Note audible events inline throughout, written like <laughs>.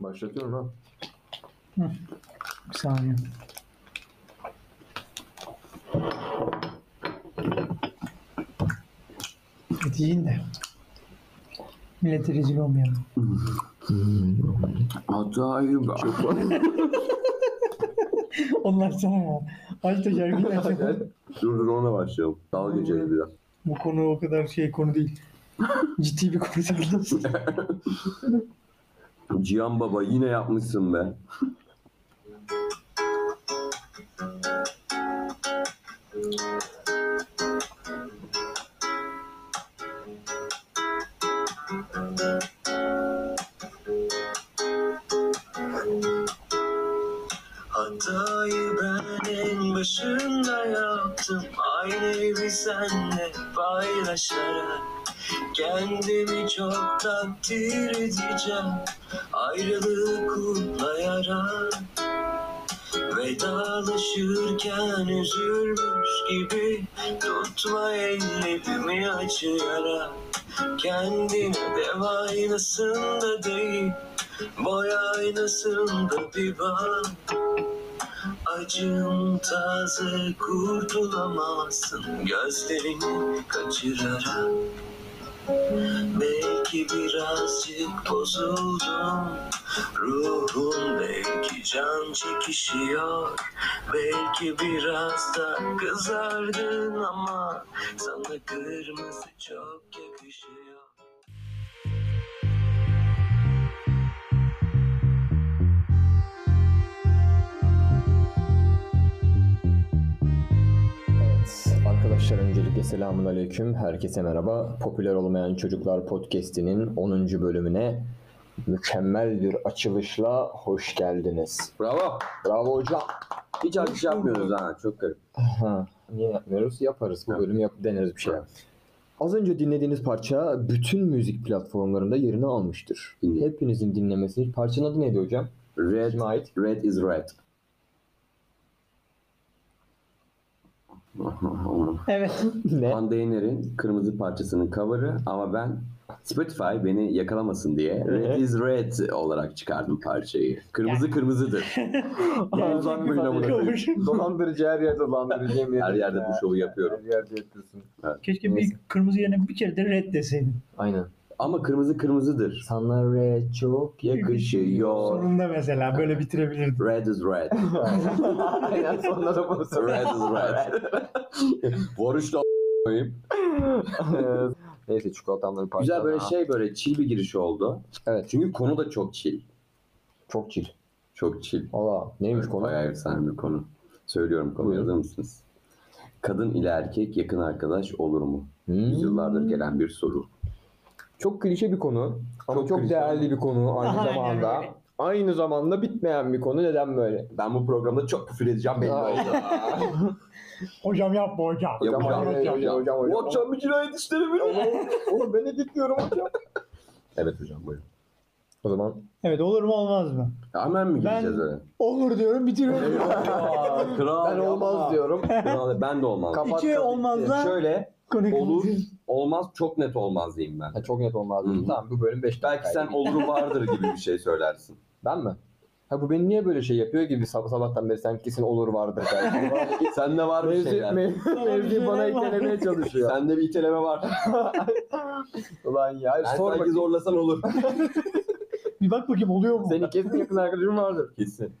Başlatıyorum ha. Bir saniye. Et yiyin de. Millete rezil olmayalım. <laughs> Acayip. Onlar sana ya. Aç da gergin aç. dur dur ona başlayalım. Dalga geçelim biraz. Bu konu o kadar şey konu değil. Ciddi bir konu değil. Cihan Baba yine yapmışsın be. Hatayı ben en başında yaptım Aynı evi senle paylaşarak Kendimi çok takdir edeceğim Ayrılığı kutlayarak Vedalaşırken üzülmüş gibi Tutma ellerimi acıyarak Kendine dev aynasında değil Boy aynasında bir bak Acım taze kurtulamazsın gözlerini kaçırarak Belki birazcık bozuldum Ruhum belki can çekişiyor Belki biraz da kızardın ama Sana kırmızı çok yakışıyor Evet, arkadaşlar öncelikle selamun aleyküm. Herkese merhaba. Popüler Olmayan Çocuklar Podcast'inin 10. bölümüne mükemmel bir açılışla hoş geldiniz. Bravo. Bravo hocam. Hiç alkış yapmıyoruz ha. Çok garip. Ha, niye yapmıyoruz? Yaparız. Bu Evet. bölüm yap deneriz bir şey. Evet. Az önce dinlediğiniz parça bütün müzik platformlarında yerini almıştır. Dinleyin. Hepinizin dinlemesini. Parçanın adı neydi hocam? Red, Kime ait? red is red. evet. Ne? Van Deyner'in kırmızı parçasının cover'ı ama ben Spotify beni yakalamasın diye Red is Red olarak çıkardım parçayı. Kırmızı <laughs> kırmızıdır. Dolandırıcı amına koyayım. Dolandırıcı her yerde dolandırıcı. yemin Her ederim yerde ya. bu şovu yapıyorum. Her yerde yapıyorsun. Keşke bir Neyse. kırmızı yerine bir kere de red deseydin. Aynen. Ama kırmızı kırmızıdır. Sana red çok şey yakışıyor. Sonunda mesela böyle bitirebilirdin. Red is red. Aynen sonuna da <laughs> bunu söyle. Red is <laughs> red. Boruş da koyayım. Ee, Neyse çikolatamları parçalar. Güzel böyle şey böyle chill bir giriş oldu. Evet. Çünkü konu da çok chill. Çok chill. Çok chill. Valla neymiş konu? Bayağı efsane bir konu. Söylüyorum konuyu Buyurun. hazır mısınız? Kadın ile erkek yakın arkadaş olur mu? Hmm. Yüzyıllardır gelen bir soru. Çok klişe bir konu. Ama Çok çok, klişe. değerli bir konu aynı Aynen zamanda. öyle. Aynı zamanda bitmeyen bir konu. Neden böyle? Ben bu programda çok küfür edeceğim belli Aa. oldu. Hocam yapma hocam. Yapacağım, Hocam hocam, yapma. hocam, hocam, Bu akşam bir cinayet işlerim. Oğlum ben editliyorum hocam. evet hocam buyurun. O zaman Evet olur mu olmaz mı? Hemen mi Ben- gireceğiz öyle? Olur diyorum bitiriyorum. Kral ben olmaz diyorum. Kral, ben de olmaz. Kapat. İki olmazla Şöyle konu olur kapanıyor. olmaz çok net olmaz diyeyim ben. Ha, çok net olmaz. Hı hı. Tamam bu bölüm 5 Belki sen oluru vardır gibi bir şey söylersin. Ben mi? Ha bu beni niye böyle şey yapıyor gibi sabah sabahtan beri sen kesin olur vardır <laughs> belki. Sende var bir mevzi, şeyler. mev- mevzi bana itelemeye çalışıyor. Sende bir iteleme var. <laughs> Ulan ya Ben sor sanki bakayım. zorlasan olur. Bir bak bakayım oluyor mu? <laughs> Senin kesin yakın arkadaşın vardır. Kesin.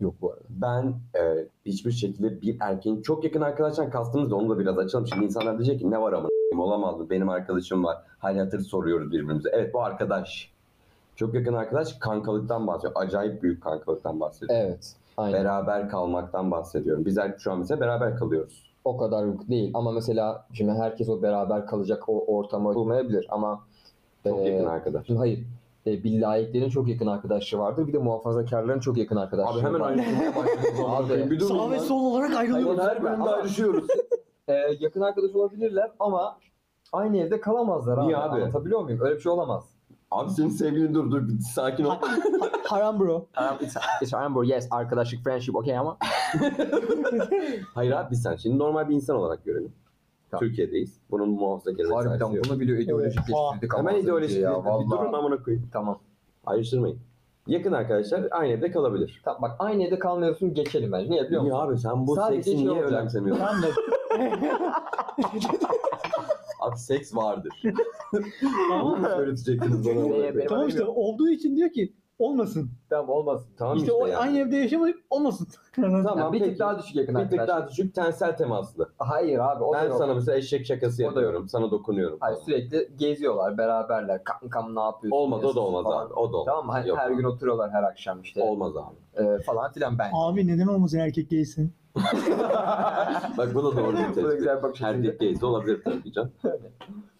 Yok bu arada. Ben e, hiçbir şekilde bir erkeğin çok yakın arkadaştan kastımız da onu da biraz açalım. Şimdi insanlar diyecek ki ne var ama olamaz mı? Benim arkadaşım var. Hal hatır soruyoruz birbirimize. Evet bu arkadaş. Çok yakın arkadaş kankalıktan bahsediyor. Acayip büyük kankalıktan bahsediyor. Evet. Aynen. Beraber kalmaktan bahsediyorum. Biz erkek şu an mesela beraber kalıyoruz. O kadar yok değil ama mesela şimdi herkes o beraber kalacak o ortama bulmayabilir ama Çok e, yakın arkadaş. şimdi hayır. E, bir laiklerin çok yakın arkadaşı vardır. Bir de muhafazakarların çok yakın arkadaşı Abi hemen vardır. <laughs> ayrışmaya başlıyoruz. şey Abi. Bir dur. Sağ lan. ve sol olarak Hayvan ayrılıyoruz. her bölümde Ama- ayrışıyoruz. E, yakın arkadaş olabilirler ama aynı evde kalamazlar abi. Niye abi? Anlatabiliyor muyum? Öyle bir şey olamaz. Abi senin sevgilin dur dur. Bir Sakin ol. Haram bro. Um, it's, it's Amber, yes. Arkadaşlık, friendship, okay ama. Hayır abi sen şimdi normal bir insan olarak görelim. Tamam. Türkiye'deyiz. Bunun muhafazakar Harbiden vesairesi yok. bunu bile ideolojikleştirdik Hemen az önce ideolojik. ya, Bir durun şey vallahi. amına koyayım. Tamam. Ayrıştırmayın. Yakın arkadaşlar aynı evde kalabilir. Tamam, bak aynı evde kalmıyorsun geçelim bence. Niye biliyor musun? Ya abi sen bu Sadece seksi şey niye olacak. önemsemiyorsun? Tamam da <laughs> Abi seks <laughs> vardır. tamam Bunu da. öğretecektiniz bana. Neye olayı. benim- Tamam işte olduğu için diyor ki olmasın. Tamam olmaz. Tamam işte işte, o yani. aynı evde yaşamayıp olmasın. Tamam Yani bir peki. tık daha düşük yakın bir tık arkadaş. daha düşük tensel temaslı. Hayır abi o da ben yok. sana mesela eşek şakası O da yok. yapıyorum. Sana dokunuyorum. Hayır sürekli geziyorlar beraberler. Kam kam ne yapıyorsun? Olmaz o da diyorsun olmaz falan. abi. O da olmaz. Tamam mı? Hani Yok her abi. gün oturuyorlar her akşam işte. Olmaz abi. Ee, falan filan ben. <laughs> Abi neden olmasın erkek giysin? Bak bu da doğru bir <laughs> Bu da tespit. güzel bir bakış açısı. Erkek geyse olabilir tabii <laughs> canım.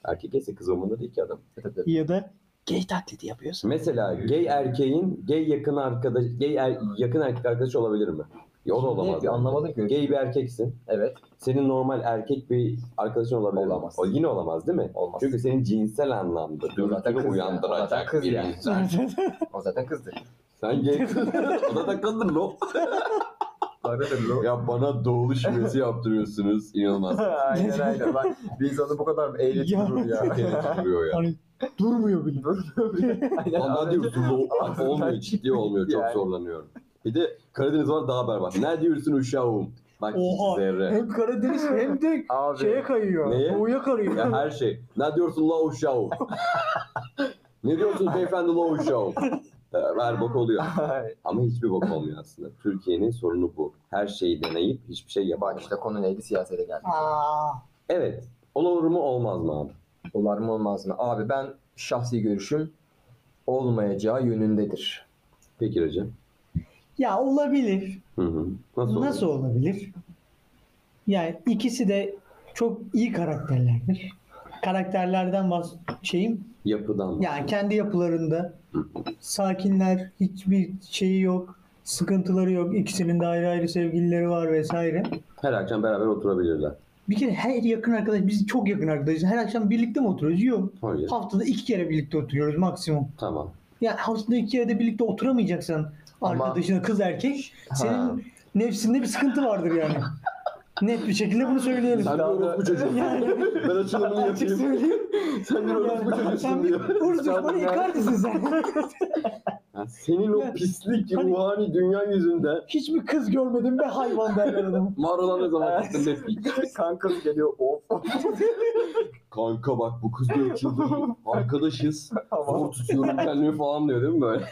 Erkek geyse kız umurunda değil ki adam. Tabii, tabii. Ya da gay taklidi yapıyorsun. Mesela gay erkeğin gay yakın arkadaş, gay er- yakın erkek arkadaşı olabilir mi? Ya o da Şimdi olamaz. bir yani. anlamadım ki. Gay bir erkeksin. Evet. Senin normal erkek bir arkadaşın olabilir mi? Olamaz. O yine olamaz değil mi? Olmaz. Çünkü senin cinsel anlamda zaten dürtünü kız yani. O zaten uyandıracak kız bir yani. <laughs> insan. <laughs> O zaten kızdı. Sen gay <laughs> O da takıldı lo. Ya bana doğulu şivesi yaptırıyorsunuz. İnanılmaz. aynen aynen. Bak, biz onu bu kadar eğletik Ya. durur <laughs> ya. Seni duruyor ya. hani durmuyor bile. Aynen, Ondan aynen. diyorsun lo. Ağzından Olmuyor ciddi olmuyor. Çok yani. zorlanıyorum. Bir de Karadeniz var daha berbat. Ne diyorsun uşağım? Bak Oha. Şey zerre. Hem Karadeniz hem de Abi. şeye kayıyor. Neye? Doğuya kayıyor. Ya her şey. Ne diyorsun la uşağım? ne diyorsun beyefendi la uşağım? Ee, Ver bok oluyor. Ay, Ama hiçbir bok olmuyor aslında. Türkiye'nin sorunu bu. Her şeyi deneyip hiçbir şey Bak yapamamak. işte konu neydi siyasete geldi. <laughs> Aa. Evet. Olur mu olmaz mı abi? Olur mu olmaz mı? Abi ben şahsi görüşüm olmayacağı yönündedir. Peki hocam. Ya olabilir. Hı hı. Nasıl, Nasıl, olur? olabilir? Yani ikisi de çok iyi karakterlerdir. Karakterlerden bahs şeyim Yapıdan mı? yani kendi yapılarında sakinler, hiçbir şeyi yok, sıkıntıları yok. İkisinin de ayrı ayrı sevgilileri var vesaire. Her akşam beraber oturabilirler. Bir kere her yakın arkadaş, biz çok yakın arkadaşız. Her akşam birlikte mi oturuyoruz? Yok. Hayır. Haftada iki kere birlikte oturuyoruz maksimum. Tamam. Yani haftada iki kere de birlikte oturamayacaksan Ama- arkadaşına kız erkek senin Ha. nefsinde bir sıkıntı vardır <laughs> yani. Net bir şekilde bunu söyleyelim. Sen bir orospu çocuğusun. <laughs> Yani- ben açılımını <laughs> Açık yapayım. söyleyeyim. Sen bir orospu Yani sen çocuğusun bir diyor. Urus düşmanı yıkarsın sen. Ya Senin o Yani- pislik Hani- ruhani dünya yüzünden Hiçbir kız görmedim be hayvan <laughs> derler adam. var olan ne zaman Evet. kızın nefret- <laughs> Kanka geliyor of. Kanka bak bu kız diyor <laughs> çıldırıyor. Arkadaşız. Ama Zor tutuyorum kendimi falan diyor değil mi böyle?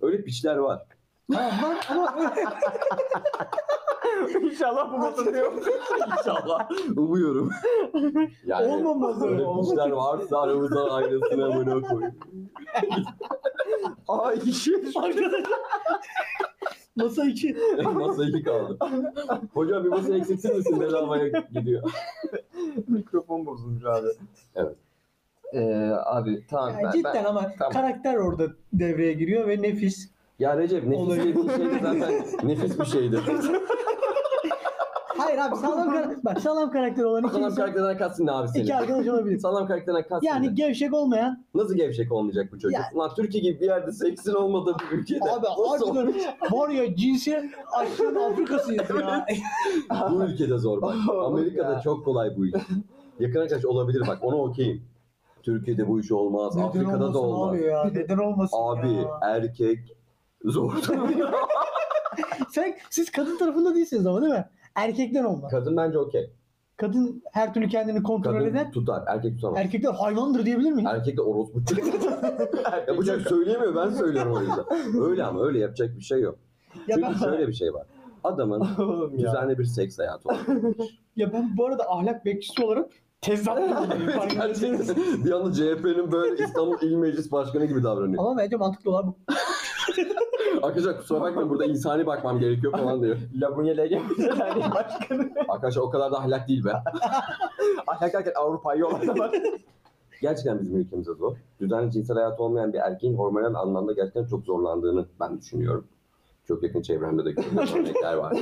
Öyle piçler var. Ha, var ama inşallah <laughs> bu batırıyor. İnşallah. Umuyorum. Yani Olmamaz öyle. öyle piçler varsa aramızdan ayrılsın amına koyayım. <laughs> Ay işi. arkadaş. Masa içi. masa iki kaldı. Hocam bir masa eksiltir misin? Bedavaya gidiyor. Mikrofon bozulmuş abi. Evet. Ee, abi tamam Yani ben, cidden ben- ama tamam. karakter orada devreye giriyor ve nefis. Ya Recep nefis Olabilir. dediğin şey de <laughs> zaten nefis bir şeydir. Hayır abi sağlam karakter. Bak sağlam karakter olan iki, Salam insan, karakterden kalsın ne abi iki senin? arkadaş olabilir. Salam karakterden kalsın Yani yani... gevşek olmayan Nasıl gevşek olmayacak bu çocuk? Ya- Lan Türkiye gibi bir yerde seksin olmadığı bir ülkede. abi nasıl olur? harbiden var ya cinsi açlığın Afrika'sıyız ya. Bu ülkede zor bak. Oğlum Amerika'da ya. çok kolay bu iş. Yakın arkadaş olabilir bak ona okeyim. Türkiye'de bu iş olmaz, Neden Afrika'da olmasın da olmaz. Abi, ya, neden olmasın Abi, ya. erkek zor. Sen, siz kadın tarafında değilsiniz ama değil mi? Erkekler olmaz. Kadın bence okey. Kadın her türlü kendini kontrol Kadın eder. tutar, erkek tutamaz. Erkekler hayvandır diyebilir miyim? Erkek de orospu çocuk. ya bu çocuk söyleyemiyor ben söylüyorum o yüzden. Öyle ama öyle yapacak bir şey yok. ya, ben, Çünkü şöyle bir şey var. Adamın Oğlum ya. düzenli bir seks hayatı olur. ya ben bu arada ahlak bekçisi olarak <laughs> tezatlı fark Gerçekten edersiniz. bir anda CHP'nin böyle İstanbul İl Meclis Başkanı gibi davranıyor. Ama bence mantıklı olan bu. Arkadaşlar kusura bakmayın burada insani bakmam gerekiyor falan diyor. <laughs> Labunya LGBT Derneği Başkanı. Arkadaşlar o kadar da ahlak değil <laughs> be. Ahlak derken Avrupa'yı olan Gerçekten bizim ülkemizde zor. Düzenli cinsel hayatı olmayan bir erkeğin hormonal anlamda gerçekten çok zorlandığını ben düşünüyorum. Çok yakın çevremde de gördüğüm örnekler <laughs> var.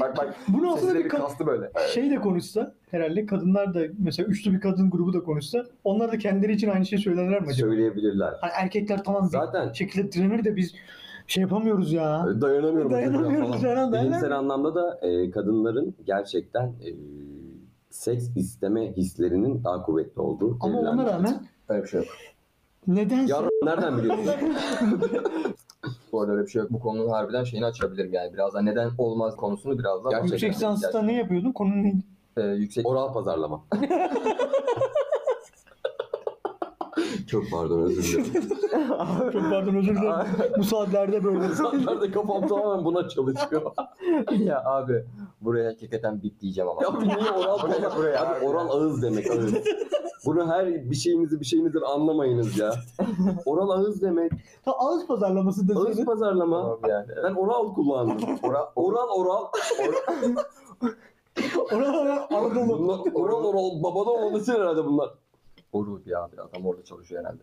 Bak bak. Bunu aslında Sesleri bir bir kad- kastı böyle. şey de konuşsa herhalde kadınlar da mesela üçlü bir kadın grubu da konuşsa onlar da kendileri için aynı şeyi söylerler mi acaba? Söyleyebilirler. Hani erkekler tamam bir Zaten şekilde direnir de biz şey yapamıyoruz ya. dayanamıyorum. Dayanamıyoruz falan derler. Bilimsel anlamda da e, kadınların gerçekten e, seks isteme hislerinin daha kuvvetli olduğu. Ama verilen- ona rağmen Öyle bir şey yok. <laughs> nedense Ya nereden biliyorsun? arada öyle bir şey yok. Bu konunun harbiden şeyini açabilirim yani. Biraz da neden olmaz konusunu biraz daha Gerçekten. Yüksek lisansta ne yapıyordun? Konu neydi? <laughs> Ee, yüksek Oral pazarlama. Çok pardon özür dilerim. <laughs> Çok pardon özür dilerim. <laughs> Bu saatlerde böyle. Zaten kafam tamamen buna çalışıyor. ya abi buraya hakikaten bip diyeceğim ama. Ya bir niye oral pazarlama? buraya Abi abi. oral ağız demek ağız. Bunu her bir şeyimizi bir şeyimizdir anlamayınız <laughs> ya. Oral ağız demek. Ta ağız pazarlaması Ağız deseydin. pazarlama. Tamam yani. Ben oral kullandım. <laughs> Oral oral. oral. Oralara Anadolu. <laughs> Bunlar, oral oral. Babadan olduğu için herhalde bunlar. Orul ya abi adam orada çalışıyor herhalde.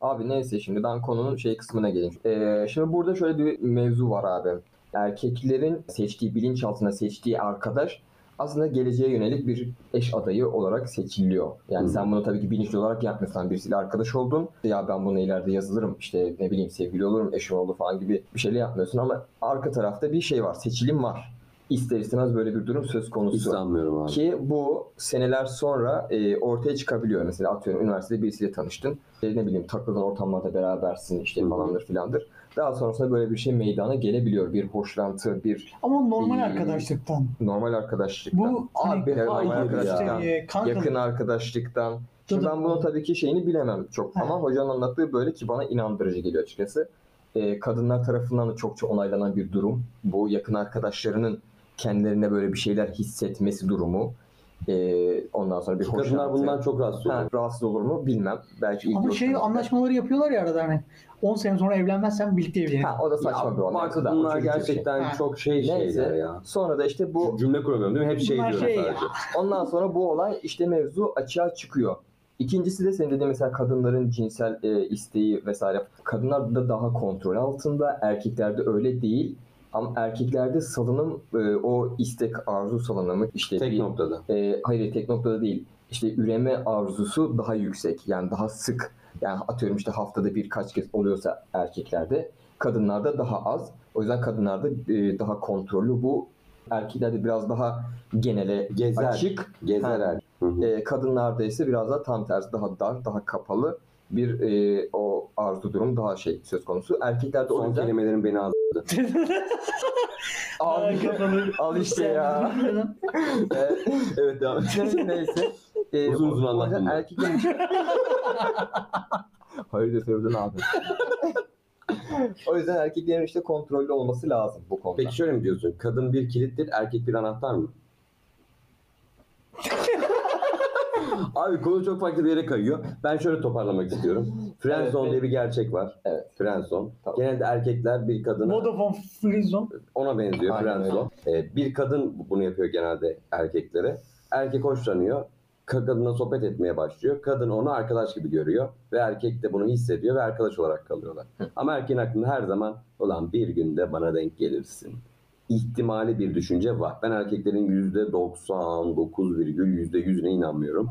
Abi neyse şimdi ben konunun şey kısmına geleyim. Ee, şimdi burada şöyle bir mevzu var abi. Erkeklerin seçtiği bilinçaltına seçtiği arkadaş aslında geleceğe yönelik bir eş adayı olarak seçiliyor. Yani Hı. sen bunu tabii ki bilinçli olarak yapmıyorsan birisiyle arkadaş oldun. Ya ben bunu ileride yazılırım işte ne bileyim sevgili olurum eşim olur falan gibi bir şeyle yapmıyorsun ama arka tarafta bir şey var seçilim var. İster istemez böyle bir durum söz konusu. Hiç sanmıyorum abi. Ki bu seneler sonra e, ortaya çıkabiliyor. Mesela atıyorum üniversitede birisiyle tanıştın. E, ne bileyim takıldığın ortamlarda berabersin Hı işte hı. falandır filandır. Daha sonrasında böyle bir şey meydana gelebiliyor. Bir hoşlantı, bir Ama normal Hmm. arkadaşlıktan. normal arkadaşlıktan. Bu Abi, hani, hayır e, normal ya. seviye, kankalık. Yakın arkadaşlıktan. Şimdi ben bunun tabii ki şeyini bilemem çok Ha. ama hocanın anlattığı böyle ki bana inandırıcı geliyor açıkçası. Ee, kadınlar tarafından da çokça onaylanan bir durum. Bu yakın arkadaşlarının kendilerine böyle bir şeyler hissetmesi durumu. Ee, ondan sonra bir Şu kadınlar hoşlantı. bundan çok rahatsız Ha, oluyor. rahatsız olur mu bilmem. Belki iyi Ama görüşmeler. şey anlaşmaları yapıyorlar ya arada hani. 10 sene sonra evlenmezsen birlikte evlenelim. Ha, o da saçma bir olay. Bak O da- o bunlar çocuk için şey. gerçekten Ha. çok şey şeyler Neyse. ya. Sonra da işte bu Bu cümle kuramıyorum değil mi? Hep şey Bunlar diyorum şey ya. sadece. Ondan sonra bu olay işte mevzu açığa çıkıyor. İkincisi de senin dediğin mesela kadınların cinsel e, isteği vesaire. Kadınlar da daha kontrol altında. Erkeklerde öyle değil. Ama erkeklerde salınım e, o istek arzu salınımı işte Tek bir- noktada. e, hayır tek noktada değil. İşte üreme arzusu daha yüksek. Yani daha sık. Yani atıyorum işte haftada birkaç kez oluyorsa erkeklerde. Kadınlarda daha az. O yüzden kadınlarda e, daha kontrollü bu. Erkeklerde biraz daha genele Gezer. açık. Gezer Ha. er. Hı hı. E, kadınlarda ise biraz daha tam tersi daha dar, daha kapalı bir e, o arzu durum daha şey söz konusu. Erkeklerde o Son yüzden kelimelerin beni az. Abi, <laughs> al işte ya. E, <laughs> Evet devam et. <laughs> neyse, neyse. E, Uzun uzun o- o yüzden anlattım bunu. Erkeklerin <laughs> Hayır de sevdin abi. o yüzden erkeklerin işte kontrollü olması lazım bu konuda. Peki şöyle mi diyorsun? Kadın bir kilittir, erkek bir anahtar mı? <laughs> Abi konu çok farklı bir yere kayıyor. Ben şöyle toparlamak istiyorum. Friendzone Evet, diye bir gerçek var. Evet. Friendzone. Tamam. Genelde erkekler bir kadına Vodafone Frizon. ona benziyor Aynen Friendzone. Ee, bir kadın bunu yapıyor genelde erkeklere. Erkek hoşlanıyor. Ka- Kadına sohbet etmeye başlıyor. Kadın onu arkadaş gibi görüyor. Ve erkek de bunu hissediyor ve arkadaş olarak kalıyorlar. Ama erkeğin aklında her zaman olan bir günde bana denk gelirsin. İhtimali bir düşünce var. Ben erkeklerin %99,100'üne inanmıyorum.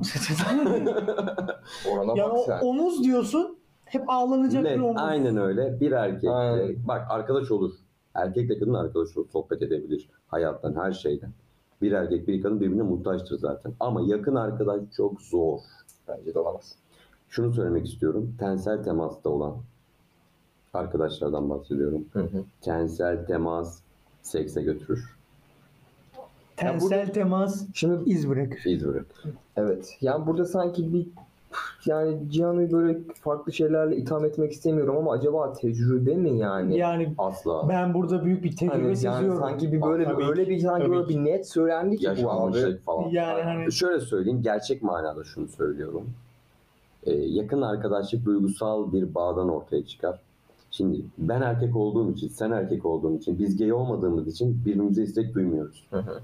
Orana yani bak o, sen. omuz diyorsun. Hep ağlanacak bir Net, omuz. aynen öyle. Bir erkek e, Aynen. bak arkadaş olur. Erkek de kadın arkadaş olur. Sohbet edebilir. Hayattan, her şeyden. Bir erkek bir kadın birbirine muhtaçtır zaten. Ama yakın arkadaş çok zor. Bence de olamaz. Şunu söylemek istiyorum. Tensel temasta olan arkadaşlardan bahsediyorum. Hı hı. Tensel temas sekse götürür. Tensel temas Şimdi iz bırakır. İz bırakır. Evet. Yani burada sanki bir yani Cihan'ı böyle farklı şeylerle itham etmek istemiyorum ama acaba tecrübe mi yani? Yani Asla. ben burada büyük bir tecrübe Hani yani seziyorum. sanki bir böyle Tabii ki, öyle bir sanki tabii böyle bir net söylendi ki bu abi. Yaşanmışlık falan. E Yani hani Şöyle söyleyeyim, gerçek manada şunu söylüyorum. Ee, yakın arkadaşlık duygusal bir bağdan ortaya çıkar. Şimdi ben erkek olduğum için, sen erkek olduğun için, biz gay olmadığımız için birbirimize istek duymuyoruz. Hı hı.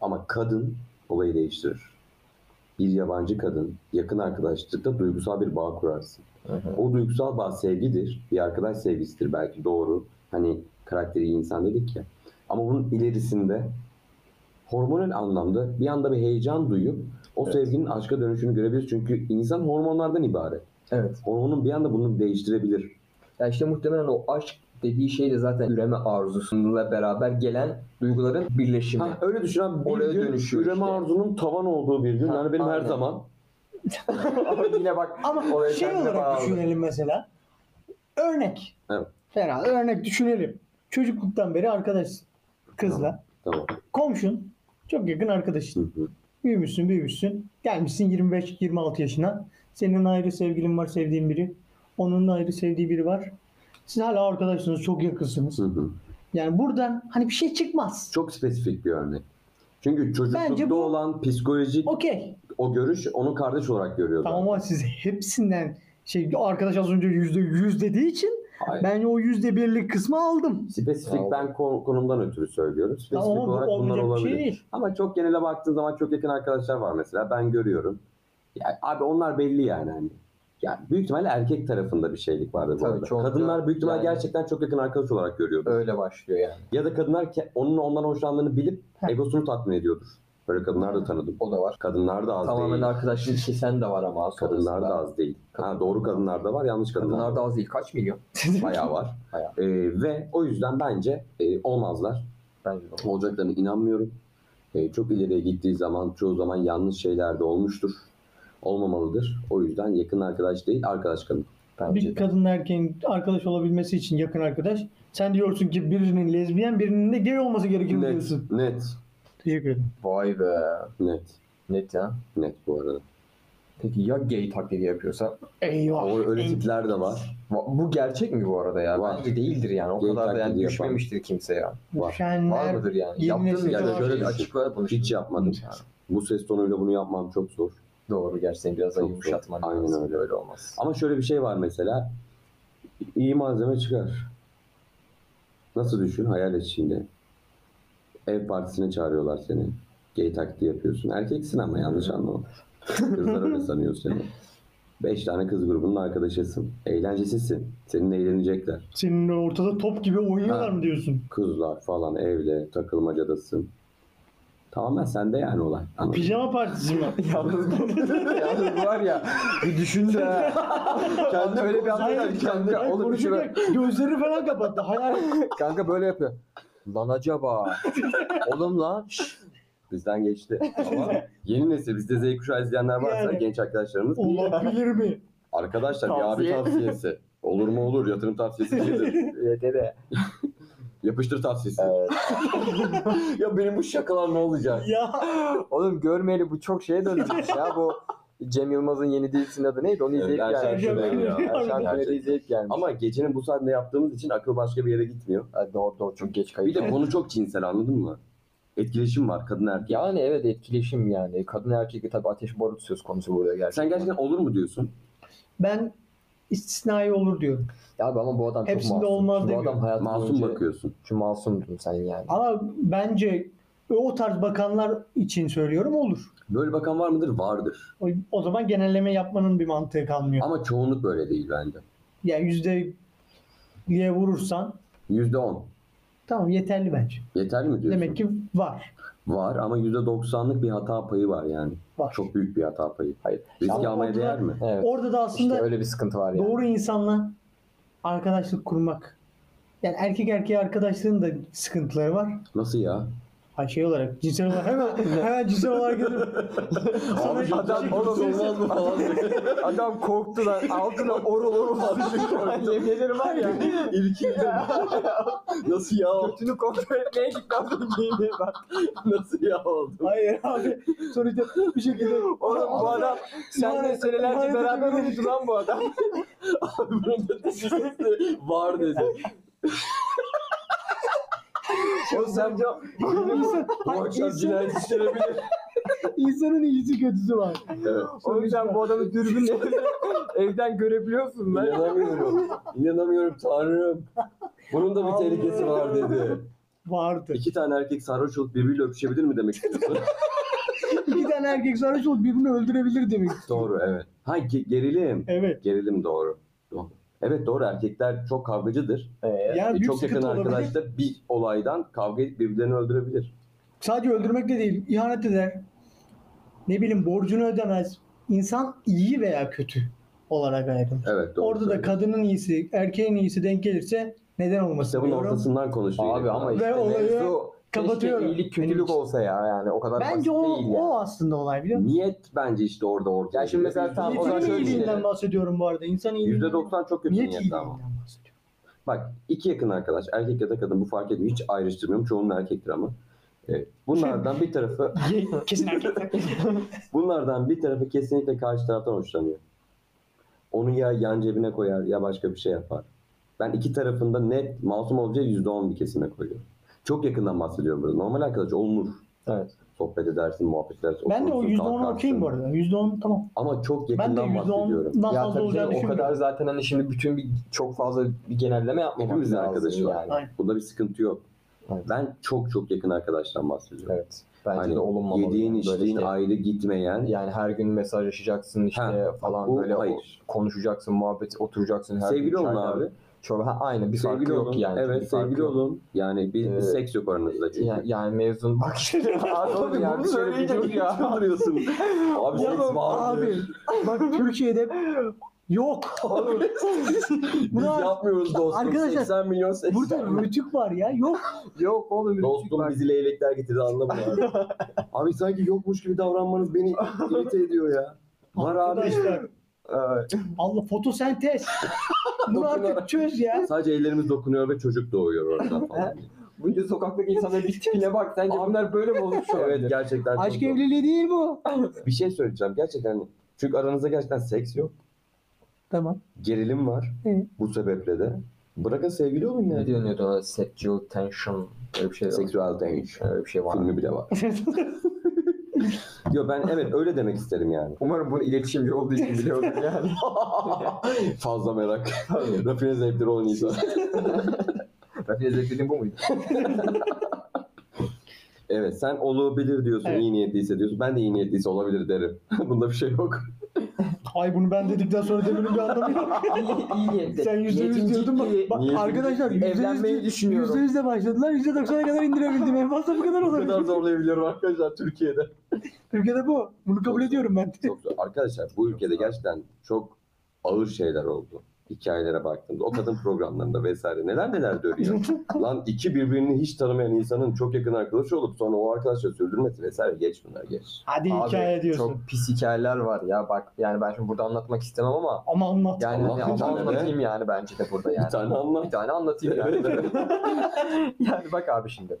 Ama kadın olayı değiştirir. Bir yabancı kadın yakın arkadaşlıkta duygusal bir bağ kurarsın. Hı hı. O duygusal bağ sevgidir. Bir arkadaş sevgisidir belki doğru. Hani karakteri iyi insan dedik ya. Ama bunun ilerisinde hormonal anlamda bir anda bir heyecan duyup o Evet. sevginin aşka dönüşünü görebiliriz. Çünkü insan hormonlardan ibaret. Evet. Hormonun bir anda bunu değiştirebilir. Ya işte muhtemelen o aşk dediği şey de zaten üreme arzusuyla beraber gelen duyguların birleşimi. Ha, öyle düşün abi. Bir Oraya gün dönüşüyor üreme işte. arzunun tavan olduğu bir gün. Ha, yani benim her aynen. zaman <laughs> Ama yine bak ama oraya şey kendine olarak bağlı. düşünelim mesela. Örnek. Evet. Beraber örnek düşünelim. Çocukluktan beri arkadaşsın kızla. Tamam. Komşun. Çok yakın arkadaşın. Hı hı. Büyümüşsün büyümüşsün. Gelmişsin 25-26 yaşına. Senin ayrı sevgilin var sevdiğin biri. Onun ayrı sevdiği biri var. Siz hala arkadaşsınız. Çok yakınsınız. Hı hı. Yani buradan hani bir şey çıkmaz. Çok spesifik bir örnek. Çünkü çocuklukta Bence bu- olan psikolojik Okey. o görüş onu kardeş olarak görüyordu. Tamam ama siz hepsinden şey arkadaş az önce yüzde yüz dediği için Hayır. ben o yüzde birlik kısmı aldım. Spesifik Tamam. ben ko- konumdan ötürü söylüyorum. Spesifik Tamam ama bu olarak bunlar olmayacak bir olabilir. şey değil. Ama çok genele baktığın zaman çok yakın arkadaşlar var mesela. Ben görüyorum. Ya, abi onlar belli yani. Hani. Ya, büyük ihtimalle erkek tarafında bir şeylik vardı bu Tabii, arada. çoğunlukla Kadınlar büyük ihtimalle yani- gerçekten çok yakın arkadaş olarak görüyordu. Öyle başlıyor yani. Ya da kadınlar ke- onun ondan hoşlandığını bilip Heh. egosunu tatmin ediyordur. Böyle kadınlar da tanıdım. O da var. Kadınlar da az Tamamen değil. arkadaşlığı kesen de var ama sonrasında. Kadınlar da az değil. Ha, Kadın- doğru kadınlar da var, yanlış kadınlar, Kadınlar da da az değil. Kaç milyon? <laughs> var. Bayağı var. Bayağı. Ee, ve o yüzden bence e, olmazlar. Bence de. olacaklarına inanmıyorum. E, çok ileriye gittiği zaman çoğu zaman yanlış şeyler de olmuştur. Olmamalıdır. O yüzden yakın arkadaş değil arkadaş kalın. Bence Bir de. kadın erkeğin arkadaş olabilmesi için yakın arkadaş. Sen diyorsun ki birinin lezbiyen birinin de gay olması gerekir Net, diyorsun. net, Teşekkür ederim. Vay be. net, Net ya. net bu arada. Peki ya gay taklidi yapıyorsa? Eyvah. Ama öyle tipler de var. Va- Bu gerçek mi bu arada ya? Var. Bence değildir yani. O Gay kadar da yani taklidi düşmemiştir kimse ya. Var. Var Düşenler. mıdır yani? Yeni Yaptın nesil mı? Ya da var. şöyle bir açıkla bunu. Hiç yapmadım. Bu ses tonuyla bunu yapmam çok zor. Doğru gerçekten biraz daha Çok yumuşatman zor. Aynen lazım. öyle. Böyle olmaz. Ama şöyle bir şey var mesela. İyi malzeme çıkar. Nasıl düşün? Hayal et şimdi. Ev partisine çağırıyorlar seni. Gay taklidi yapıyorsun. Erkeksin ama yanlış anlama. Kızlar öyle sanıyor seni. Beş tane kız grubunun arkadaşısın. Eğlencesizsin. Seninle eğlenecekler. Senin ortada top gibi oynuyorlar Ha. mı diyorsun? Kızlar falan evde takılmacadasın. Tamamen sende yani olay. Anladın mı? Pijama <laughs> partisi mi? Yalnız bu, yalnız var ya bir düşünce Kendi öyle bir Hayır, anlıyor ki hayır, kanka. Oğlum şöyle konuşurken Gözleri falan <laughs> kapattı. Hayal. kanka böyle yapıyor. Lan acaba. Oğlum lan. şşş. Bizden geçti. Ama yeni nesil bizde Z kuşağı izleyenler varsa Yani. genç arkadaşlarımız <laughs> Olabilir mi? Arkadaşlar bir Tavsiye. abi tavsiyesi. Olur mu olur yatırım tavsiyesi gelir. <laughs> Evet, evet. Yapıştır tavsiyesi. Evet. ya benim bu şakalar ne olacak? ya. Oğlum görmeyeli bu çok şeye dönmüş ya bu Cem Yılmaz'ın yeni dizisinin adı neydi? Onu Evet, izleyip Erşen gelmiş. Şener ya. Erşen Şener'i Gerçekten. izleyip gelmiş. Ama gecenin bu saatinde yaptığımız için akıl başka bir yere gitmiyor. Ha, doğru doğru çok geç Bir kayıt. de konu çok cinsel anladın mı? Etkileşim var kadın erkek. Yani evet etkileşim yani. Kadın erkek tabii ateş barut söz konusu burada gerçekten. Sen gerçekten olur mu diyorsun? Ben istisnai olur diyorum. Ya abi ama bu adam çok Hepsinde masum. olmaz bu demiyorum. adam hayatı Masum boyunca- bakıyorsun. Şu masumdun sen yani. Ama bence o tarz bakanlar için söylüyorum olur. Böyle bakan var mıdır? Vardır. O, o zaman genelleme yapmanın bir mantığı kalmıyor. Ama çoğunluk böyle değil bence. Yani yüzde diye vurursan Yüzde on. tamam yeterli bence. Yeterli mi diyorsun? Demek ki var. Var ama yüzde doksanlık bir hata payı var yani. Var. Çok büyük bir hata payı. Hayır. Riske Ama almaya orada- değer mi? Evet. Orada da aslında İşte öyle bir sıkıntı var yani. doğru insanla arkadaşlık kurmak. Yani erkek erkeğe arkadaşlığın da sıkıntıları var. Nasıl ya? Ha şey olarak cinsel olarak hemen <laughs> hemen cinsel olarak dedim. Sana Abi hiçbir adam şey oğlum kimse- olmaz mı falan diyor. <laughs> Adam korktu lan. Altına orul orul sıçıyor. Yemin ederim var ya. İlkildim. <laughs> Nasıl ya? oldu? Götünü kontrol etmeye gitmem. Bak, Nasıl ya oldu? <laughs> Hayır abi. Sonuçta bir şekilde Oğlum bu adam senle İhanet- senelerce ihanet beraber ediyorum. oldu lan bu adam. Abi bunun da düşüncesi var dedi. Oğlum sen İnsan- Bu akşam insan- cinayet işlenebilir. insanın iyisi kötüsü var. Evet. o yüzden bu adamı dürbünle evden görebiliyorsun lan. İnanamıyorum. İnanamıyorum Tanrım. Bunun da bir tehlikesi var dedi. Vardı. İki tane erkek sarhoş olup birbiriyle öpüşebilir mi demek <laughs> istiyorsun? İki tane erkek sarhoş olup birbirini öldürebilir <laughs> demek. doğru evet. Ha ge- gerilim. Evet. Gerilim doğru. Doğru. Evet doğru erkekler çok kavgacıdır. Yani Ee, büyük E, çok yakın sıkıntı olabilir. arkadaş da bir olaydan kavga edip birbirlerini öldürebilir. Sadece öldürmek de değil, ihanet eder. Ne bileyim borcunu ödemez. İnsan iyi veya kötü olarak ayrılır. Evet doğru. Orada da söylüyorsun. kadının iyisi, erkeğin iyisi denk gelirse neden olmasın kitabın diyorum. ortasından konuşuyor. Abi yine. ama Ve işte olayı mevzu keşke kapatıyorum. iyilik Benim kötülük için. olsa ya yani o kadar basit Bence o, değil yani. o aslında olay biliyor musun? Niyet bence işte orada ortaya. Ya şimdi giriyor. mesela tamam, o zaman İnsanın şöyle iyiliğinden düşünelim. bahsediyorum bu arada. İnsan iyiliğinden, %90 şey çok kötü niyet niyet ama. iyiliğinden bahsediyorum. <laughs> Bak iki yakın arkadaş erkek ya da kadın bu fark etmiyor. Hiç ayrıştırmıyorum. Çoğunun erkektir ama. E, bunlardan Şey- bir tarafı Ye- Kesin <laughs> erkekler. Bunlardan bir tarafı kesinlikle karşı taraftan hoşlanıyor. Onu ya yan cebine koyar ya başka bir şey yapar. Ben iki tarafında net masum olacağı yüzde on bir kesime koyuyorum. Çok yakından bahsediyorum burada. Normal arkadaş olunur. Evet. Sohbet edersin, muhabbet edersin. ben de o oturursun, %10'u kalkarsın. okeyim bu arada. %10 tamam. Ama çok Ben de yakından <laughs> bahsediyorum. %10'dan Ya fazla tabii olacağını canım, o düşünmüyorum. kadar zaten hani şimdi bütün bir çok fazla bir genelleme yapmamak Hepimizin lazım arkadaşı var. yani. Aynen. Bunda bir sıkıntı yok. Evet. Ben çok çok yakın arkadaştan bahsediyorum. Evet. Bence Hani de olunmamalı. Yediğin yani. Böyle şey. içtiğin işte- ayrı gitmeyen. Yani her gün mesajlaşacaksın işte Ha, falan bu böyle o- hayır. konuşacaksın, muhabbet oturacaksın her sevgili gün. olun çaylar, abi. Çorba ha, aynı bir sevgili farkı olun. yok yani. Evet bir farkı sevgili yok. olun. Yani bir, bir Ee, seks yok aranızda çünkü. Yani, yani mezun <laughs> bak işte abi oğlum ya bir şöyle bir şey dur <laughs> ya. duruyorsun. şey <laughs> Abi Oğlum, seks vardır. abi. <laughs> Bak Türkiye'de yok. <laughs> Oğlum, Biz Buna- yapmıyoruz dostum. Arkadaşlar, 80 milyon 80 Burada rütük var ya. Yok. Yok oğlum Dostum bizi leylekler getirdi <laughs> anlamıyorum. abi sanki yokmuş gibi davranmanız beni irite ediyor ya. Var abi. Arkadaşlar. Evet. Allah <laughs> fotosentez. Bunu artık çöz ya. Sadece ellerimiz dokunuyor ve çocuk doğuyor oradan <laughs> falan. Bunca sokaktaki insanların bir tipine bak. Sence Abi- bunlar böyle mi olmuş şu evet evet, gerçekten. çok Aşk doğru. evliliği değil bu. Bir şey söyleyeceğim gerçekten. Çünkü aranızda gerçekten seks yok. <laughs> Tamam. Gerilim var. Hı. Bu sebeple de. Bırakın sevgili olun Ne yani. deniyordu ona? Sexual tension. Öyle bir şey var. Seksüel tension. Öyle bir şey var. <laughs> Filmi bile var. Yo ben evet öyle demek isterim yani. Umarım bunu iletişimci olduğu için biliyordur yani. <laughs> Fazla merak. Rafine zevkleri olan insan. Rafine Zevkli'nin bu muydu? Evet sen olabilir diyorsun, Evet. iyi niyetli hissediyorsun. Ben de iyi niyetliyse olabilir derim. <laughs> Bunda bir şey yok. Ay bunu ben dedikten sonra demenin bir anlamı <laughs> yok. iyi niyetli. Sen yüzde yüz diyordun bak. Bak niyetim arkadaşlar ciddi. yüzde yüz- Evlenmeyi düşünüyorum. Yüzde yüzle başladılar. Yüzde doksana kadar indirebildim. En fazla bu kadar Bu kadar olabilir. zorlayabiliyorum arkadaşlar Türkiye'de. Türkiye'de bu. Bunu kabul ediyorum ben. Çok zor. Arkadaşlar bu ülkede gerçekten çok ağır şeyler oldu. Hikayelere baktığımda. O kadın programlarında vesaire neler neler <laughs> dönüyor. Lan iki birbirini hiç tanımayan insanın çok yakın arkadaşı olup sonra o arkadaşla sürdürmesi vesaire geç bunlar geç. Hadi Abi, hikaye diyorsun. Çok pis hikayeler var ya bak yani ben şimdi burada anlatmak istemem ama Ama anlat. yani Allah hani bir ama tane be. anlatayım yani bence de burada yani. Bir tane Bir anlat. tane anlatayım <laughs> Evet, yani. <laughs> yani bak abi şimdi.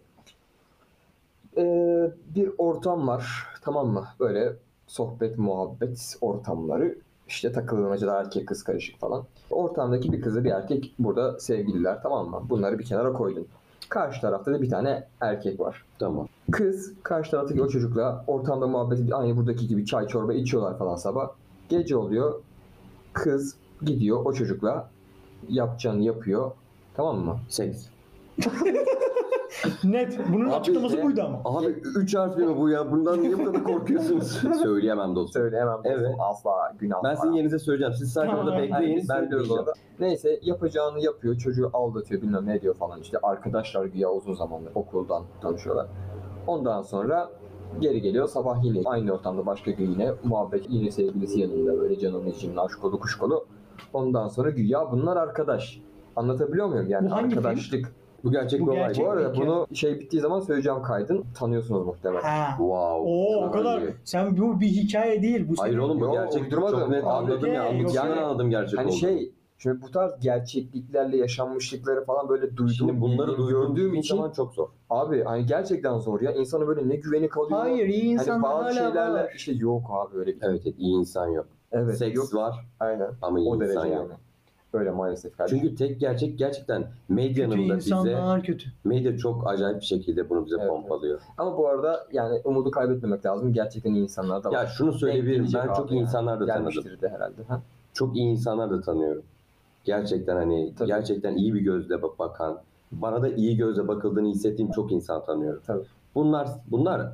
Ee, bir ortam var tamam mı? Böyle sohbet muhabbet ortamları işte takılmacalar erkek kız karışık falan. Ortamdaki bir kızı bir erkek burada sevgililer tamam mı? Bunları bir kenara koydun. Karşı tarafta da bir tane erkek var. Tamam. Kız karşı taraftaki o çocukla ortamda muhabbet aynı buradaki gibi çay çorba içiyorlar falan sabah. Gece oluyor. Kız gidiyor o çocukla yapacağını yapıyor. Tamam mı? Seks. Net. Bunun Abi, açıklaması ne? buydu ama. Abi üç harfli mi bu ya? Bundan niye bu <laughs> kadar korkuyorsunuz? Söyleyemem dostum. Söyleyemem. Evet. dostum, Asla günah Ben falan. sizin yerinize söyleyeceğim. Siz sadece Tamam, orada aynen. bekleyin. Ben söylüyoruz diyeceğim. orada. Neyse yapacağını yapıyor. Çocuğu aldatıyor bilmem ne diyor falan. İşte arkadaşlar güya uzun zamandır okuldan tanışıyorlar. Ondan sonra geri geliyor sabah yine aynı ortamda başka gün yine muhabbet yine sevgilisi yanında böyle canım için aşk olu kuş kolu. Ondan sonra güya bunlar arkadaş. Anlatabiliyor muyum? Yani Bu hangi film? arkadaşlık. Bu gerçek Bu bir olay. gerçek. Bu arada Peki. bunu şey bittiği zaman söyleyeceğim kaydın. Tanıyorsunuz muhtemelen. Ha. Wow. Oo o çok kadar. iyi. Sen bu bir hikaye değil. Bu Hayır senin- oğlum bu Yo, gerçek. uydurmadım. Çok net Abi, anladım ya. yok, Anlatımdan yani- anladım gerçek Hani olduğunu. şey şimdi bu tarz gerçekliklerle yaşanmışlıkları falan böyle duyduğum, Şimdi bunları bildiğim, gördüğüm gördüğüm için için zaman çok zor. Abi hani gerçekten zor ya. İnsana böyle ne güveni kalıyor. Hayır iyi Hani insanlar bazı hala şeylerle var. işte yok abi öyle bir. Evet evet, iyi insan yok. Evet. Seks yok. var Aynen. ama iyi O derece insan yok. yani. Öyle maalesef kardeşim. Çünkü tek gerçek gerçekten Kötü medyanın da bize, insanlar kötü. medya çok acayip bir şekilde bunu bize Evet, evet. pompalıyor. Ama bu arada yani umudu kaybetmemek lazım. Gerçekten iyi insanlar da var. Ya şunu söyleyebilirim Denk ben gelecek çok abi iyi ya. insanlar da tanıdım. Gelmiştir de herhalde. Ha? Çok iyi insanlar da tanıyorum. Gerçekten hani Tabii. gerçekten iyi bir gözle bak- bakan, bana da iyi gözle bakıldığını hissettiğim çok insan tanıyorum. Tabii. Bunlar bunlar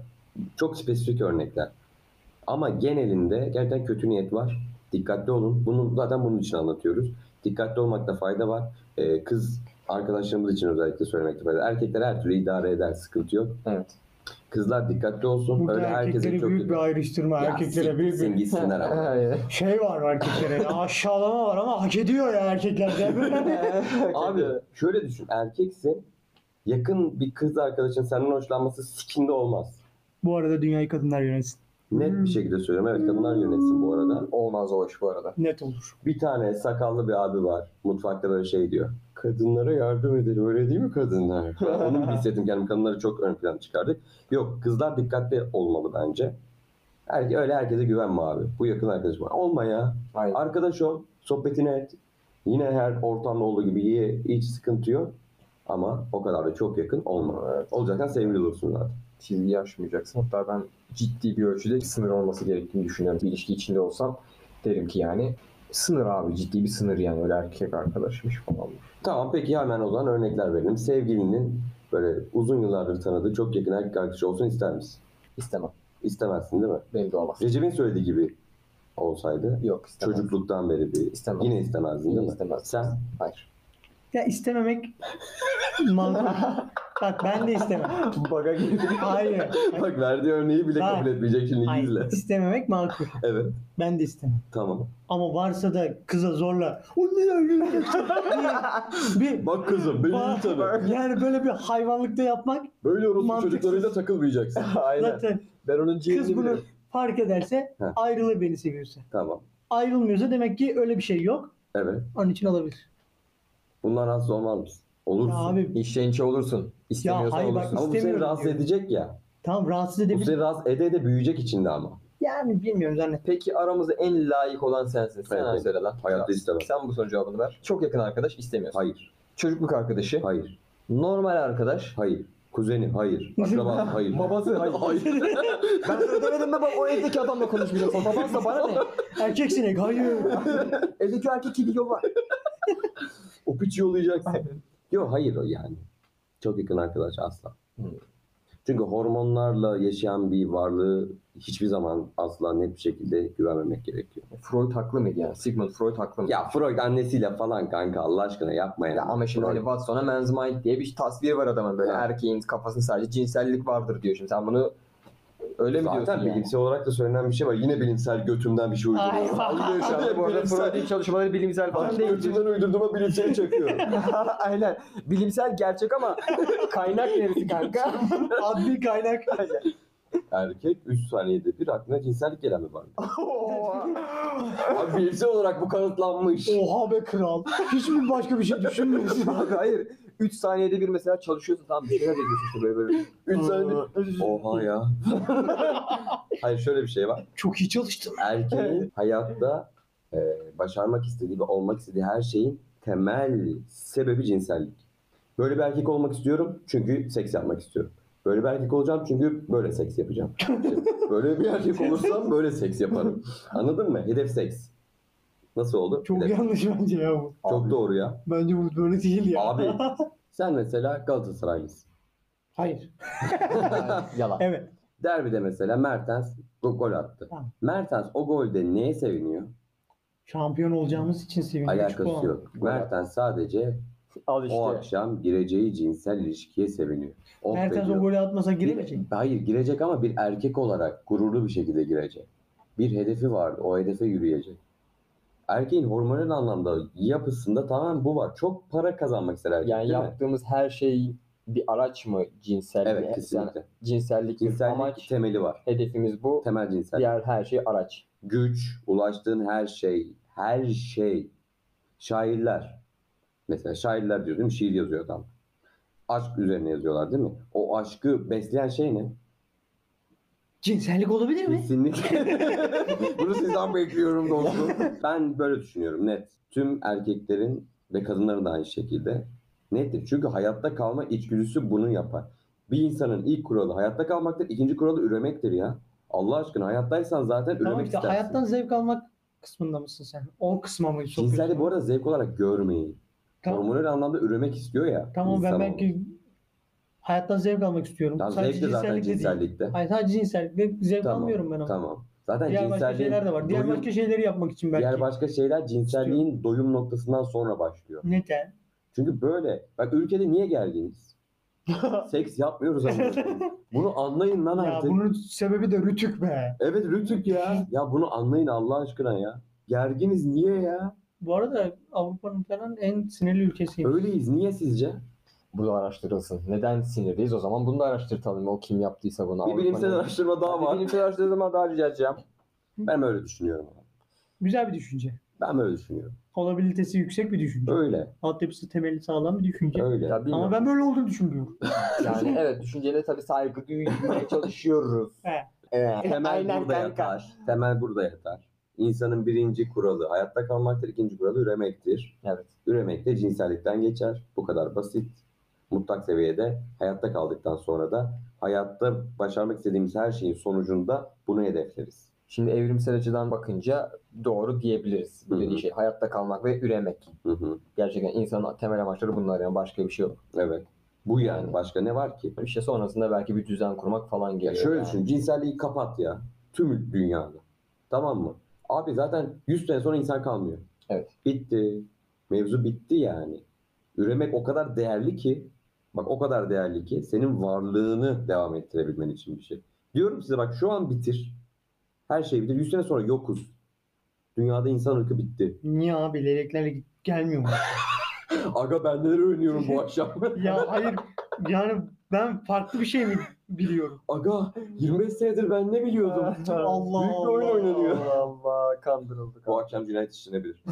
çok spesifik örnekler. Ama genelinde gerçekten kötü niyet var. Dikkatli olun. Bunu zaten bunun için anlatıyoruz. Dikkatli olmakta fayda var. Ee, kız arkadaşlarımız için özellikle söylemekte fayda. Erkekler her türlü idare eder, sıkıntı yok. Evet. Kızlar dikkatli olsun. Burada Öyle herkesin erkeklere çok büyük bir ayrıştırma. erkeklere büyük bir bir gitsinler ama. şey var <laughs> erkeklere. ya, aşağılama var ama hak ediyor ya erkekler. de. <laughs> Abi şöyle düşün. Erkeksin. Yakın bir kız arkadaşın senden hoşlanması sikinde olmaz. bu arada dünyayı kadınlar yönetsin. Net Hmm. bir şekilde söylüyorum. Evet kadınlar yönetsin bu Hmm. arada. <laughs> Olmaz o iş bu arada. Net olur. Bir tane sakallı bir abi var. Mutfakta böyle şey diyor. kadınlara yardım edelim öyle değil mi kadınlar? Ben Onu bir hissettim kendimi kadınları çok ön plana çıkardık. Yok kızlar dikkatli olmalı bence. Erke, öyle herkese güvenme abi. Bu yakın arkadaşım. Olma ya. Aynen. Arkadaş ol. Sohbetini et. Yine her ortamda olduğu gibi iyi, hiç sıkıntı yok. Ama o kadar da çok yakın olma. Evet. Olacaksan sevgili olursun zaten. Çizgiyi aşmayacaksın. Hatta ben ciddi bir ölçüde bir sınır olması gerektiğini düşünüyorum. Bir ilişki içinde olsam derim ki yani sınır abi ciddi bir sınır yani öyle erkek arkadaşmış falan. Tamam peki hemen o zaman örnekler verelim. Sevgilinin böyle uzun yıllardır tanıdığı çok yakın erkek arkadaşı olsun ister misin? İstemem. İstemezsin değil mi? Benim de olmaz. Recep'in söylediği gibi olsaydı Yok istemem. çocukluktan beri bir İstemem. yine istemezdin değil mi? istemez. Sen Hayır. Ya istememek mantıklı. Bak ben de istemem. Baga girdi. Hayır. <laughs> bak verdiği örneği bile Hayır. kabul etmeyecek şimdi <laughs> gizle. Hayır. İstememek makul. Evet Ben de istemem. tamam. Ama varsa da kıza zorla. "O ne öyle?" şey?" <laughs> bir, Bak kızım beni iyi tanı. yani böyle bir hayvanlıkta yapmak Böyle orospu Mantıksız. çocuklarıyla takılmayacaksın. Aynen. zaten Ben onun kız ciğerini bunu bilirim. fark ederse Ha. ayrılır beni seviyorsa. Tamam. Ayrılmıyorsa demek ki öyle bir şey yok. Evet. Onun için olabilir. Bundan rahatsız olmaz mısın? Olursun. Ya abi İşlençe olursun. İstemiyorsan hayır bak, olursun. ama bu seni istemiyorum rahatsız diyor. edecek ya. tamam rahatsız E Bu edebilir. seni rahatsız ede ede büyüyecek içinde ama. Yani bilmiyorum zannet. Peki aramızda en layık olan sensin. Sen Evet, evet, evet. söyle lan. Hayatta istemem. Sen bu sorunun cevabını ver. Çok yakın arkadaş istemiyorsun. Hayır. Çocukluk arkadaşı. Hayır. Normal arkadaş. Hayır. Kuzenim <laughs> hayır. Akrabam hayır. Babası hayır. <laughs> hayır. <laughs> ben sana demedim mi bak o evdeki adamla konuşmayacaksın. Babansa bana ne? Hani Erkek sinek <laughs> hayır. Evdeki erkek gibi yol var. O piçi yolayacaksın. Yok hayır o yani. Çok yakın arkadaş asla. Hmm. Çünkü hormonlarla yaşayan bir varlığı hiçbir zaman asla net bir şekilde güvenmemek gerekiyor. E, Freud haklı mıydı yani? Sigmund Freud haklı mıydı? Ya Freud annesiyle falan kanka Allah aşkına yapma yani. Ya ama şimdi hani Freud- Watson'a man's mind diye bir tasvir var adamın böyle. Evet. Erkeğin kafasında sadece cinsellik vardır diyor şimdi. Sen bunu öyle mi diyorsun Zaten yani? bilimsel olarak da söylenen bir şey var. Yine bilimsel götümden bir şey Ay, uyduruyorum. vay. Biliyor şu anda bu arada Freud'un çalışmaları bilimsel Ben falan değil. götümden uydurduğuma bilimsel çakıyorum. <laughs> Aynen. Bilimsel gerçek ama <laughs> kaynak neresi kanka? <laughs> Adli kaynak. Erkek 3 saniyede bir aklına cinsellik gelen bir varlık. Abi bilimsel olarak bu kanıtlanmış. Oha be kral. Hiç mi başka bir şey düşünmüyorsun? Kanka hayır. 3 saniyede bir mesela çalışıyorsun tamam bir şeyler ediyorsun işte böyle böyle. 3 saniyede. Oha ya. <laughs> Hayır şöyle bir şey var. Çok iyi çalıştın. erkeğin hayatta e, başarmak istediği ve olmak istediği her şeyin temel sebebi cinsellik. Böyle bir erkek olmak istiyorum çünkü seks yapmak istiyorum. Böyle bir erkek olacağım çünkü böyle seks <laughs> yapacağım. İşte böyle bir erkek olursam böyle seks yaparım. Anladın mı? Hedef seks. Nasıl oldu? Çok Hedef. yanlış bence ya bu. Çok doğru ya. Bence bu böyle değil ya. Abi sen mesela <laughs> Galatasaraylısın. Hayır. Yalan. Evet. Derbide mesela Mertens go- gol attı. Tamam. Mertens o golde neye seviniyor? Şampiyon olacağımız için seviniyorum. Üç puan. Alakası yok. Mertens sadece Al işte. O akşam gireceği cinsel ilişkiye seviniyor. Oh be Mertens o diyor. golü atmasa Bir- giremeyecek. Hayır girecek ama bir erkek olarak gururlu bir şekilde girecek. Bir hedefi vardı. O hedefe yürüyecek. Erkeğin hormonal anlamda yapısında tamamen bu var. Çok para kazanmak ister erkek Yani değil mi? yaptığımız her şey bir araç mı cinsellik? Evet kesinlikle. Yani cinsellik, Cinsellik amaç, temeli var. hedefimiz bu. Temel cinsellik. Diğer her şey araç. Güç, ulaştığın her şey, her şey. Şairler. Mesela şairler diyor değil mi? Şiir yazıyor adam. Aşk üzerine yazıyorlar değil mi? O aşkı besleyen şey ne? Cinsellik olabilir mi? Kesinlikle. <laughs> Bunu sizden bekliyorum dostum. Ben böyle düşünüyorum net. Tüm erkeklerin ve kadınların da aynı şekilde nettir. Çünkü hayatta kalma içgüdüsü bunu yapar. Bir insanın ilk kuralı hayatta kalmaktır, ikinci kuralı üremektir ya. Allah aşkına hayattaysan zaten Tamam üremek işte istersin. hayattan zevk almak kısmında mısın sen? O kısma mı sokuyorsun? Cinselliği bu arada zevk olarak görmeyin. Tamam, Hormonal anlamda üremek istiyor ya. tamam ben insanoğlu. belki hayattan zevk almak istiyorum. Tamam, sadece zevk de zaten cinsellik de değil. cinsellikte. Hayır sadece cinsellikle zevk Tamam, almıyorum ben ama. Tamam. Zaten Diğer başka cinselliğin şeyler de var. Diğer doyum- başka şeyleri yapmak için belki. diğer başka şeyler cinselliğin doyum noktasından sonra başlıyor. Neden? Çünkü böyle. Bak ülkede niye gerginiz? Seks yapmıyoruz ama. Bunu anlayın lan Ya artık. bunun sebebi de rütük be. Evet Rütük ya. Ya bunu anlayın Allah aşkına ya. Gerginiz niye ya? Bu arada Avrupa'nın falan en sinirli ülkesiyim. Öyleyiz niye sizce? Bu da araştırılsın. Neden sinirdeyiz? O zaman bunu da araştırtalım. O kim yaptıysa bunu. Bir Avrupa'nın- bilimsel araştırma daha Bir var. bilimsel araştırma daha rica edeceğim. Ben öyle düşünüyorum. Güzel bir düşünce. Ben böyle düşünüyorum. Olabilitesi yüksek bir düşünce. Öyle. Altyapısı temeli sağlam bir düşünce. Öyle. Ya Ama bilmiyorum. ben böyle olduğunu düşünmüyorum. Yani evet düşüncene tabii saygı <laughs> duymaya çalışıyoruz. Ee, He. Evet. Temel <laughs> Aynen burada kanka. yatar. Temel burada yatar. İnsanın birinci kuralı hayatta kalmaktır. ikinci kuralı üremektir. Evet. Üremek de cinsellikten geçer. Bu kadar basit. Mutlak seviyede hayatta kaldıktan sonra da hayatta başarmak istediğimiz her şeyin sonucunda bunu hedefleriz. Şimdi evrimsel açıdan bakınca doğru diyebiliriz. Bu Hı hı. dediği şey hayatta kalmak ve üremek. Hı hı. Gerçekten insanın temel amaçları bunlar yani başka bir şey yok. Evet. Bu yani. Başka ne var ki? İşte sonrasında belki bir düzen kurmak falan Ya Ee, geliyor. şöyle yani. düşün. Cinselliği kapat ya. Tüm dünyada. Tamam mı? Abi zaten 100 sene sonra insan kalmıyor. Evet. Bitti. Mevzu bitti yani. Üremek o kadar değerli ki bak o kadar değerli ki senin varlığını devam ettirebilmen için bir şey. Diyorum size bak şu an bitir. Her şey bitir. 100 sene sonra yokuz. Dünyada insan ırkı bitti. Niye abi leleklerle gelmiyor mu? <laughs> Aga ben neler öğreniyorum bu akşam. <laughs> ya hayır yani ben farklı bir şey mi biliyorum? Aga 25 senedir ben ne biliyordum? <laughs> Allah Büyük bir oyun Allah. oynanıyor. Allah Allah kandırıldık. Bu akşam cinayet işlenebilir.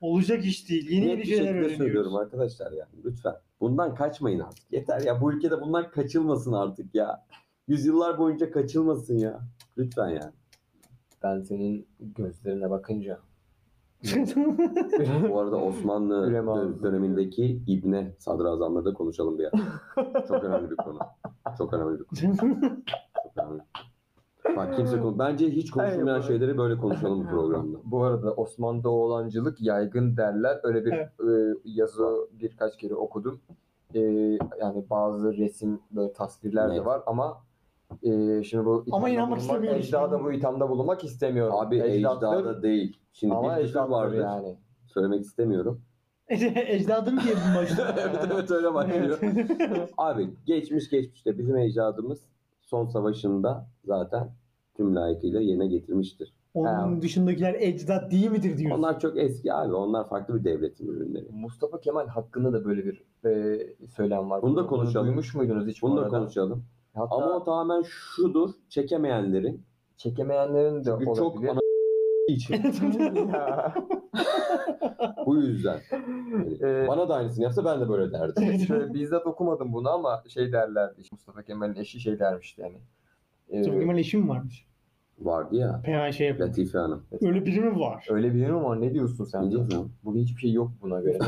Olacak iş değil. Yeni Net yeni bir şeyler şekilde söylüyorum öğreniyoruz. arkadaşlar yani lütfen. Bundan kaçmayın artık. Yeter ya bu ülkede bundan kaçılmasın artık ya. Yüzyıllar boyunca kaçılmasın ya. Lütfen ya. Ben senin <laughs> gözlerine bakınca <laughs> Bu arada Osmanlı Ürem dö- ağzı. dönemindeki İbne sadrazamları da konuşalım bir ara. Çok önemli bir konu. Çok önemli bir konu. Çok önemli. Bak kimse konu. Bence hiç konuşulmayan Hayır, bu- şeyleri böyle konuşalım bu programda. bu arada Osmanlı'da oğlancılık yaygın derler. Öyle bir Evet. e, yazı birkaç kere okudum. E, yani bazı resim böyle tasvirler Evet. de var ama e, şimdi bu Ama ithamda inanmak bulunmak- istemiyorum. Ecdada bu ithamda bulunmak istemiyorum. Abi Ecdattır ecdada değil. Şimdi Ama bir küfür ecdattır vardır. yani. Söylemek istemiyorum. Ecdadım diye <laughs> bu başlıyor. evet evet öyle <laughs> başlıyor. Abi geçmiş geçmişte bizim ecdadımız son savaşında zaten tüm layıkıyla yerine getirmiştir. Onun dışındakiler ecdat değil midir diyorsun. <laughs> Onlar çok eski abi. Onlar farklı bir devletin ürünleri. Mustafa Kemal hakkında da böyle bir e, söylem var. Bunu da konuşalım. Duymuş muydunuz hiç bu Bunu da arada? konuşalım. Hatta Ama o tamamen şudur. Çekemeyenlerin. çekemeyenlerin de Çünkü çok olabilir. ana için. <laughs> Ya. Bu <laughs> yüzden. Yani Ee, Bana da aynısını yapsa ben de böyle derdim. Şöyle bizzat okumadım bunu ama şey derlerdi. işte Mustafa Kemal'in eşi şey dermişti yani. Ee, Mustafa Kemal eşim varmış. Vardı ya. Hemen şey yapıyor. Latife Hanım. Öyle biri mi var? Öyle bir yerim var. Ne diyorsun sen? Ne diyorsun? Bugün hiçbir şey yok <laughs> buna göre.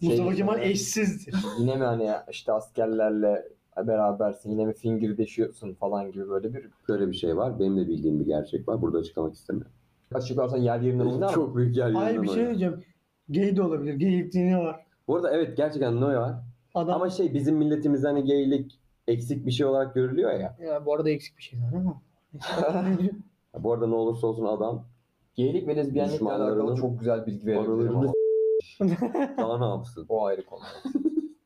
Şey- Mustafa Kemal eşsizdir. Yine mi hani işte askerlerle berabersin yine mi fingirdeşiyorsun falan gibi böyle bir Böyle bir şey var. Benim de bildiğim bir gerçek var. Burada açıklamak istemiyorum. açıklarsan yer yerine oynar mı? Çok büyük yer Hayır yerinden bir şey oynadı. diyeceğim. Gay de olabilir. Gaylikliği ne var? Bu arada evet gerçekten Noy var. Adam Ama şey bizim milletimizde hani geylik eksik bir şey olarak görülüyor ya. ya, bu arada eksik bir şey zaten ama. Ya Bu arada ne olursa olsun adam Geylik ve lezbiyenlikle Düşmanlarının alakalı çok güzel bilgi verebilirim <laughs> paralarını ama daha ne yapsın? <laughs> o ayrı konu.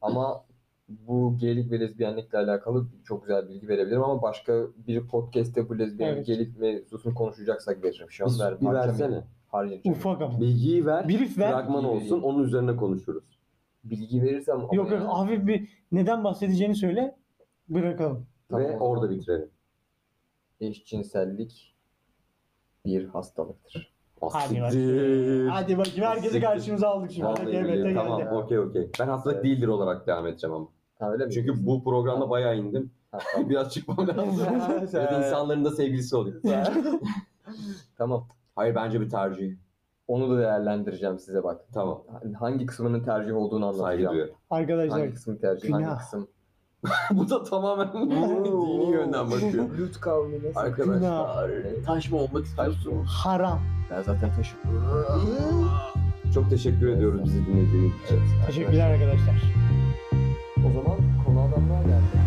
ama bu geylik ve lezbiyenlikle alakalı çok güzel bilgi verebilirim ama başka bir podcast'te bu lezbiyenlik Evet. geylik mevzusunu konuşacaksak veririm. Şu an Bir, ver, bir harcamayayım. versene. harcayacağım. <laughs> Ufak ama. Bilgiyi ver, Bir if ver. fragman Bilgiyi olsun vereyim. onun üzerine konuşuruz. Bilgi verirsem ama Yok yok yani. hafif bir neden bahsedeceğini söyle. Bırakalım. Tamam, Ve o zaman. orada bitirelim. eşcinsellik bir hastalıktır. Hadi bak. Asiktir. Hadi bakayım herkesi Siktir. karşımıza aldık şimdi. Ah, Vallahi Hadi billahi. evet tamam geldi. okey okey. Ben hastalık Evet. değildir olarak devam edeceğim ama. Ha, öyle mi? Çünkü bu programda bayağı indim. <laughs> Ha, tamam. Biraz çıkmam lazım. <laughs> Ya da insanların da sevgilisi oluyor. tamam. Hayır bence bir tercih. Onu da değerlendireceğim size bak. Tamam. Hangi kısmının tercih olduğunu Saygı anlatacağım. duyuyorum. <laughs> Arkadaşlar Hangi kısmı tercih, hangi Günah. kısım? bu da tamamen <laughs> dini yönden bakıyor. <laughs> <laughs> Lüt kavmine Arkadaşlar taş mı olmak istiyorsunuz? haram. Ben zaten taşım. Çok teşekkür ediyoruz bizi dinlediğiniz için. Teşekkürler arkadaşlar. O zaman konu adamlar geldi.